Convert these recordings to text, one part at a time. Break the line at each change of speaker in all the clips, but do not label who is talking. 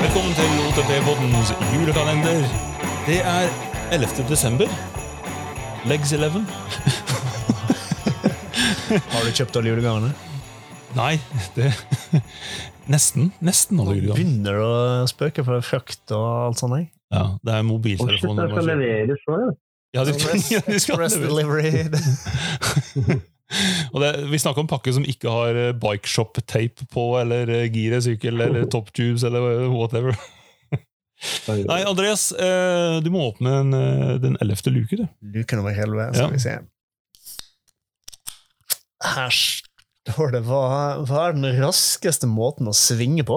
Velkommen til OTP-poddens julekalender. Det er 11. desember. Legs 11.
Har du kjøpt alle julegavene?
Nei, det Nesten. Nesten alle julegavene.
Begynner du å spøke for frakt og alt sånt? jeg?
Ja, det er
Og shit,
mobiltelefon.
det skal leveres nå, ja.
Ja, de skal, ja, de skal
Express
levere.
delivery.
Og det, vi snakker om pakker som ikke har eh, bike shop tape på, eller eh, giresykkel, eller top tubes, eller eh, whatever. Nei, Andreas, eh, du må åpne den, eh, den 11. luke, du.
Luken over helvete, skal
Ja.
vi se. Her står det hva, hva er den raskeste måten å svinge på?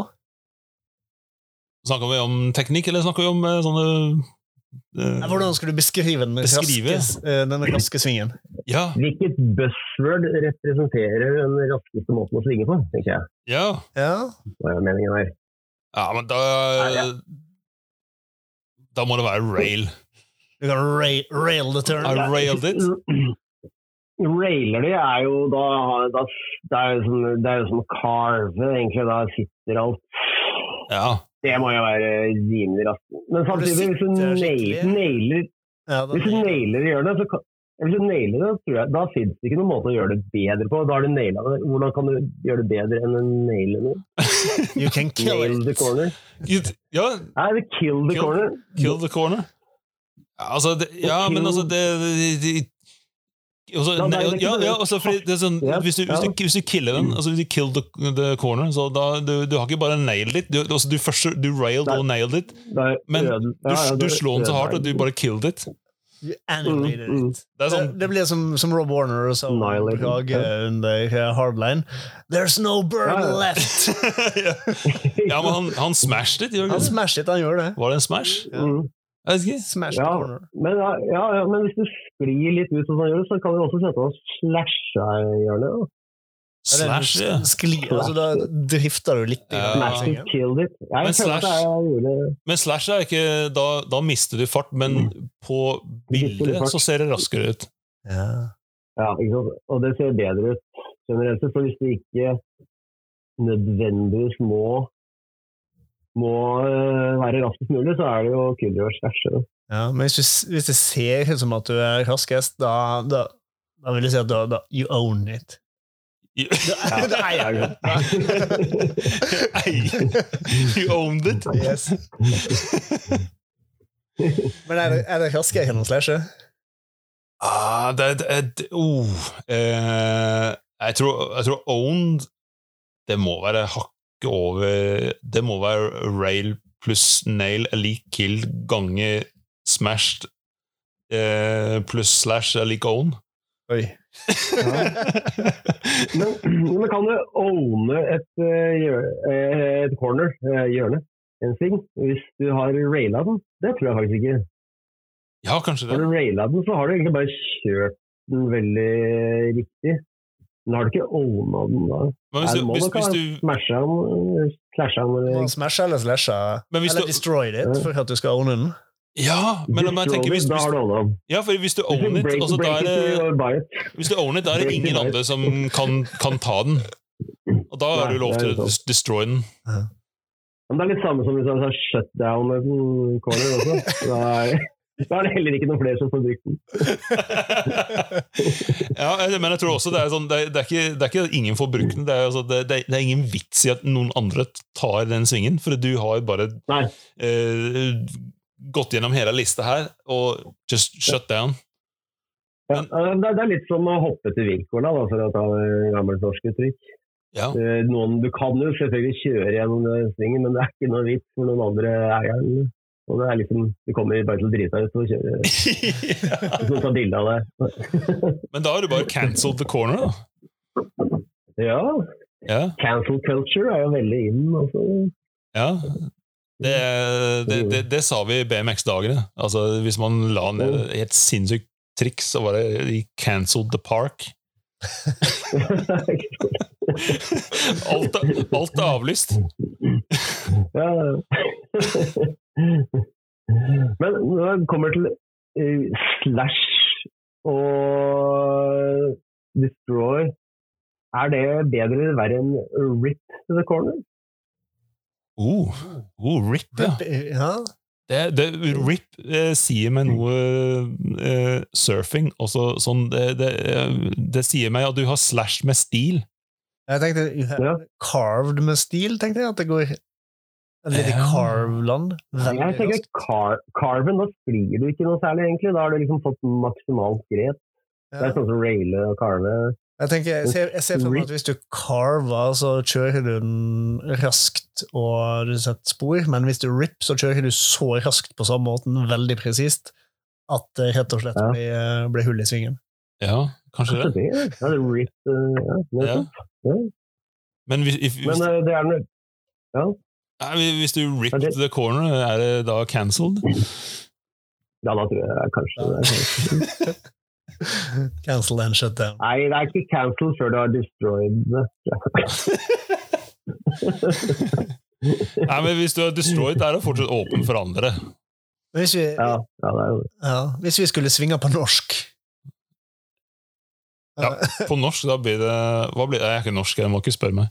Snakker vi om teknikk, eller snakker vi om eh, sånne eh,
Hvordan skulle du beskrive den
Beskrive?
raske, eh, den raske svingen?
Ja,
Hvilket buzzword representerer den raskeste måten å svinge på, tenker jeg.
ja.
Ja,
Hva er meningen her?
Ja, men da
Ja,
Da må det være rail.
du kan ra rail the turn.
I railed it.
Railer det er jo da, da det, er jo som, det er jo som å carve, egentlig. Da sitter alt.
Ja.
Det må jo være rimelig raskt. Men
Når du
samtidig, hvis du
sitter
nail-
skikkelig.
nailer,
Ja, den-
hvis du nailer å gjøre det, så kan hvis du nailer det, tror jeg, da finnes det ikke noen måte å gjøre det bedre på. Da har du nailet det. Hvordan kan du gjøre det bedre enn å naile noe?
you can kill
Nail the
it.
corner.
You, ja,
Nei, det er kill the
Kill-
corner.
kill the corner. Ja, Altså, det, ja, men altså det, det, det altså,
Da- da-
nei, ja, ja, altså, fordi det er sånn,
Ja,
hvis, du, hvis, du, hvis du killer den altså Hvis du kill the, the corner, så da du, du har ikke bare nailed it. Du, altså, du, først, du railed
Nei.
og nailed it.
Da er
Men
ødel-
Du,
ja, ja,
du
da-
slår den så hardt, og du
ødelegger.
bare killed it.
You animated
Mm, mm.
it.
Det er sånn
Det, det blir som, som Rob Warner sa om
Annihilated,
Brage
ja.
under eh, Hardline. There's no burn
Ja, ja.
left!
ja. ja, men han, han smashed it, gjorde han
Han
ikke det?
smashet, han gjør det.
Var det en smash?
Mm.
Jeg vet ikke.
Smash
Ja.
the corner.
Men, ja, ja, ja, men hvis du sklir litt ut, som han gjør, så kan du også sette oss slasha i hjørnet. da.
Eller
Slash, ja.
sk- Skli, altså da drifter du litt.
Ja.
grann,
Smash
tenker
it,
jeg.
kill it. Jeg
Men
føler at
slash-
jeg gjorde
Men slash er ikke Da, da mister du fart, men på
Mm. Mister du
bildet
fart.
så ser det raskere ut.
Ja.
Ja, ikke sant? Og det ser bedre ut generelt sett. For hvis du ikke nødvendigvis må, må øh, være raskest mulig, så er det jo kill your slash. da.
Ja, men hvis, du, s- hvis det ser ut som at du er raskest, da, da, da vil jeg si at da, da You own it.
Ja.
det eier du.
You owned it!
Yes. Men er det, er det raskere enn å slashe?
Ah, det, det, det, oh. eh, jeg, tror, jeg tror owned Det må være hakket over Det må være rail pluss nail er lik kill gange smashed eh, pluss slash er lik own.
Oi.
Men, men kan du owne et, eh, hjør- eh, et corner, eh, hjørne, en sving, hvis du har raila den? Det tror jeg faktisk ikke.
ja, kanskje
Har
det.
du raila den, så har du egentlig bare kjørt den veldig riktig. Men har du ikke owna den da?
Men hvis
Nei,
du,
det må
hvis,
nok
hvis
ha
du
Smasha den, eh, slasha den
Må
eller
man smashe eller slashe?
Men hvis
Eller
du-
destroy it for at du skal owne den?
Ja, men om jeg
Destroy
tenker hvis,
it, Da har
hvis,
du owna den.
ja, for hvis du
Hvis
own
du
it,
break-
altså, da
break
er
it,
det,
you buy it.
hvis du own it, da er det
break
ingen
it,
andre som kan, kan ta den. Og da har
Nei,
du lov
det er
til å
sant.
des- destroy den.
Men det er litt samme som hvis jeg sa shutdown med en corner også. Da er, da er det heller ikke noen flere som får brukt den.
ja, jeg- men jeg tror også det er sånn Det er, det er, ikke, det er ikke at ingen får brukt den. Det er, altså, det, det, er- det er ingen vits i at noen andre tar den svingen, for du har bare
Nei.
eh, gått gjennom hele lista her og just shut down.
Ja, det, er- det er litt som å hoppe til Wirkola, da, for å ta eh, gammelt norsk uttrykk.
Ja.
Eh, Noen, du kan jo selvfølgelig kjøre gjennom den svingen, men det er ikke noe vits for noen andre eieren. Og det er liksom, Du kommer bare til å drite deg ut og kjøre
ja.
hvis noen tar bilde av det.
Men da har du bare cancelled the corner, da.
Ja,
Ja.
cancel culture er jo veldig in. Altså.
Ja. Det, det, det, det sa vi i BMX-dagene. Altså, hvis man la ned et helt sinnssykt triks, så var det de cancelled the park.
altså.
Alt, er- alt er avlyst.
ja. Men når det kommer til eh, slash og destroy, er det bedre eller verre enn rip to the corner?
Oh, oh RIP, ja.
Ja.
Det, det, RIP eh, sier meg noe eh, surfing. Også, sånn, det, det, eh, det sier meg at du har slash med stil.
Jeg tenkte you have
Ja.
carved med stil, tenkte jeg. At det går et lite
Ja.
carve-land.
Jeg tenker car Carven, da skriver du ikke noe særlig, egentlig. Da har du liksom fått maksimalt grep. Det er
Ja.
sånn som raile og carve.
Jeg, tenker, jeg, ser, jeg ser for meg at hvis du carver, så kjører du den raskt og du setter spor, men hvis du rip, så kjører du så raskt på samme måten, veldig presist, at det rett og slett
Ja.
blir, eh, blir hull i svingen.
Ja, kanskje
Så
det.
det ja, det er rip, eh, ja, det er
Ja.
sant. Ja.
Men hvis, if, hvis,
Men eh, det er noe
nei, hvis du
Men
ripped
det-
the corner, er det da cancelled?
Ja, da tror jeg kanskje det er
Cancel and shut down.
Nei, det er ikke cancel før du har destroyed det.
Nei, men hvis du har destroyed, er det fortsatt åpen for andre.
Men Hvis vi,
Ja, ja, det er jo det.
ja, hvis vi skulle svinge på norsk eh,
Ja. På norsk, da blir det hva blir, Jeg er ikke norsk, jeg må ikke spørre meg.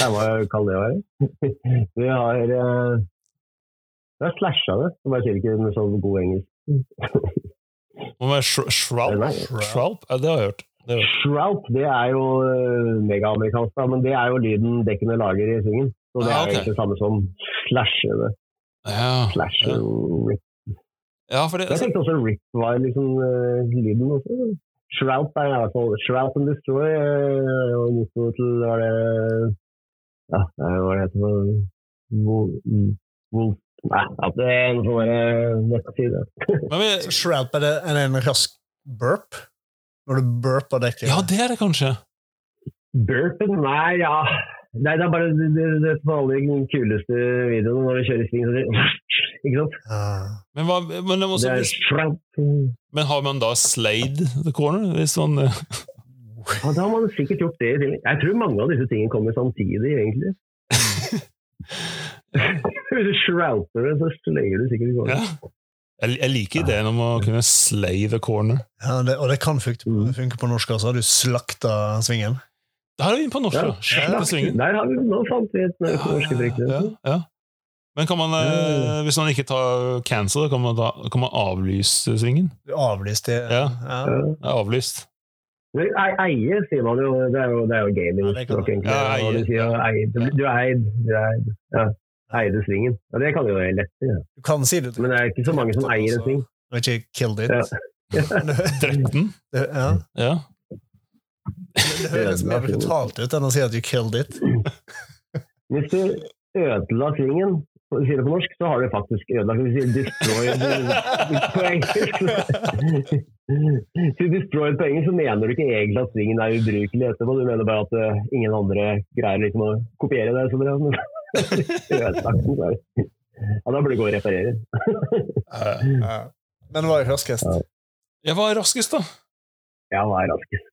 Ja, hva kan det være? Vi har eh, Vi har slasha det. Jeg bare sier ikke med sånn god engelsk.
Må være sh shroud?
Nei.
Shroud? Ja, det har jeg hørt. Det har jeg hørt.
Shrout, det er jo eh, megaamerikansk, da, men det er jo lyden dekkene lager i svingen. Så det
Ah,
er jo
ok.
ikke det samme som slashe. det.
Ja.
Slashe,
Ja.
rip.
ja, for det
Jeg tenkte også rip var liksom eh, lyden også. Shrout er i hvert fall Shrout and Destroy eh, er jo motto til var det Ja, det er jo hva det heter for Wolf... Wolf Nei, ja, det er noe sånn der, eh, jeg skal si det.
men, vi-
Shroud er det er det en rask burp? Når du burper dekket?
Ja, det er det kanskje.
Burpen? Nei, ja Nei, det er bare det, det, det er alle de kuleste videoene når du kjører sving. Så det, ikke sant?
Ah.
Men, hva, men, det må
Det
også,
er shrout. Ja,
men har man da slade the corner? Hvis man, eh,
da har man sikkert gjort det i tillegg. Jeg tror mange av disse tingene kommer samtidig, egentlig. Hvis du shrouter det, så slenger du sikkert i
ja.
gården.
jeg, jeg liker ideen om å kunne slay the corner.
Ja, det, og det kan funke,
Mm.
funke på norsk også. Du slakta svingen.
Da er vi inne på norsk,
Ja.
da. Slay the swingen.
Der har vi nå fant vi et norsk norske trekk.
Ja, ja. Men kan man, eh, hvis man ikke tar cancel, kan man, da, kan man avlyse svingen?
Du avlyste
Ja.
ja.
Ja.
Det er avlyst.
Men ei- Eie, sier man jo. Det er jo, det er jo gamingspråk, egentlig.
Ja, eie.
Hva du, sier, ja, eie. Du, du er eid. Du er eid. Ja. Eide svingen. Ja, det kan jo være lett. Ja.
Du kan si det.
Men det er ikke så mange som
Sånn,
eier en sving.
Og ikke killed it.
Ja.
det,
Drepten.
ja.
Ja.
det høres mer brutalt ut enn å si at you killed it.
Hvis du ødela svingen, og du sier det på norsk, så har du faktisk ødelagt Hvis du sier destroyed på engelsk Hvis du destroyed på engelsk, så mener du ikke egentlig at svingen er ubrukelig etterpå. Du mener bare at eh, ingen andre greier liksom å kopiere det så bra. Men ødelagt den, så er det. Ja, da burde du gå og reparere.
Men det var jo raskest.
Ja.
Jeg var raskest, da.
Ja, hva er raskest?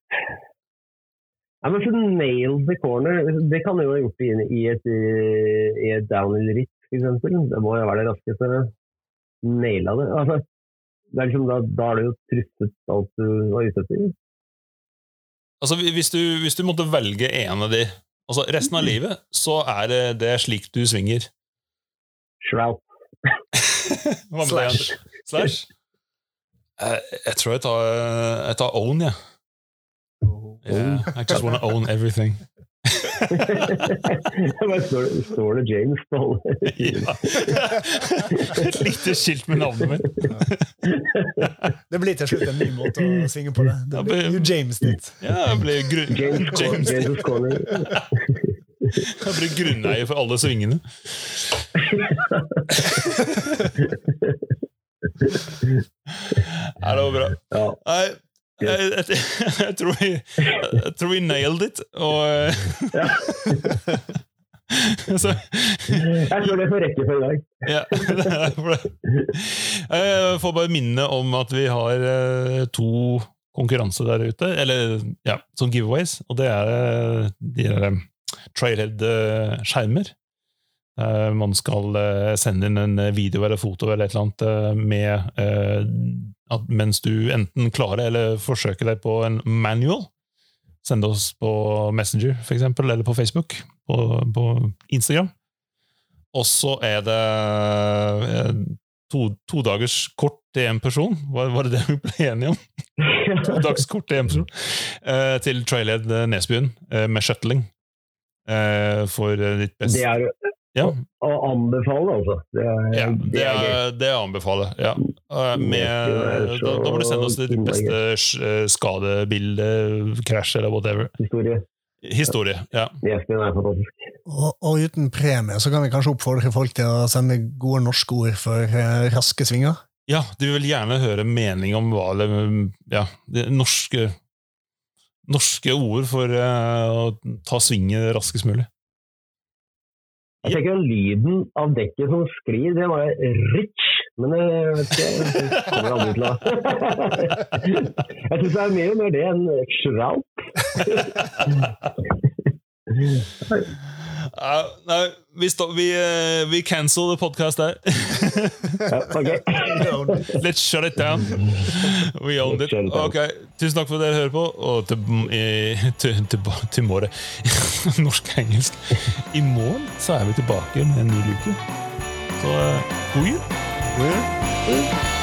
Ja, men så nail the corner, det kan du jo ha gjort i, i et, eh, i et downhill ritt, for eksempel. Det må jo være det raskeste. Naila det. Altså, det er liksom, da, da har du jo truffet alt du var ute etter.
Altså, hvis du, hvis du måtte velge en av de altså Resten av livet så er det, det er slik du svinger.
Shroud.
Hva med deg,
Slash.
Anders? Slash? Jeg, jeg tror jeg tar, jeg tar own, jeg. Yeah. I just wanna own everything.
Bare står, det- står det James på alle?
Ja. Et lite skilt med navnet mitt.
Det blir til slutt en ny måte å synge på det. det blir, you James it.
Ja, jeg blir grunn...
James, James.
James.
James corner.
Jeg blir grunneier for alle svingene. Nei, det var bra.
Ja.
Nei, jeg, jeg, jeg, tror vi, jeg tror vi nailed it, og
Ja.
eh, så,
Jeg tror det får rekke for i dag.
ja, det er for det. Jeg får bare minne om at vi har eh, to konkurranser der ute, eller ja, som giveaways, og det er eh, de der eh, trailhead-skjermer. Eh, Man skal eh, sende inn en video eller foto eller et eller annet eh, med eh, at mens du enten klarer eller forsøker deg på en manual, Send oss på Messenger, for eksempel, eller på Facebook, på, på Instagram. Og så er det eh, to, to dagers kort til én person. Var, var det det vi ble enige om? To dags kort til én person. Eh, til Trailhead eh, Nesbyen eh, med shuttling. Eh, for eh, ditt
Det
beste.
er
Ja,
å anbefale, altså. Det er,
ja, det,
gøy.
er, det anbefaler jeg. Ja. Eh, Med, da, da må du sende oss ditt beste sk- eh, skadebilde, krasj eller whatever.
Historie.
Historie. ja.
Nesbyen er fantastisk.
Og, og uten premie så kan vi kanskje oppfordre folk til å sende gode norske ord for eh, raske svinger.
Ja, de vil gjerne høre mening om hva det Ja, det norske Norske ord for eh, å ta svinget raskest mulig.
Jeg tenker at lyden av dekket som sklir, det var rich, men jeg vet ikke Det kommer jeg aldri til å Jeg syns det er mer og mer det enn shroud.
Eh, nei, vi, stå- vi, eh, vi cancel the podcast der.
Ja, ok.
Let's shut it down. We owned it.
Let's shut it down.
Ok, Tusen takk for at dere hører på, og til, i, til, til, til morgen Norsk og engelsk. I morgen så er vi tilbake med en ny uke. Så eh, god jul!
God jul.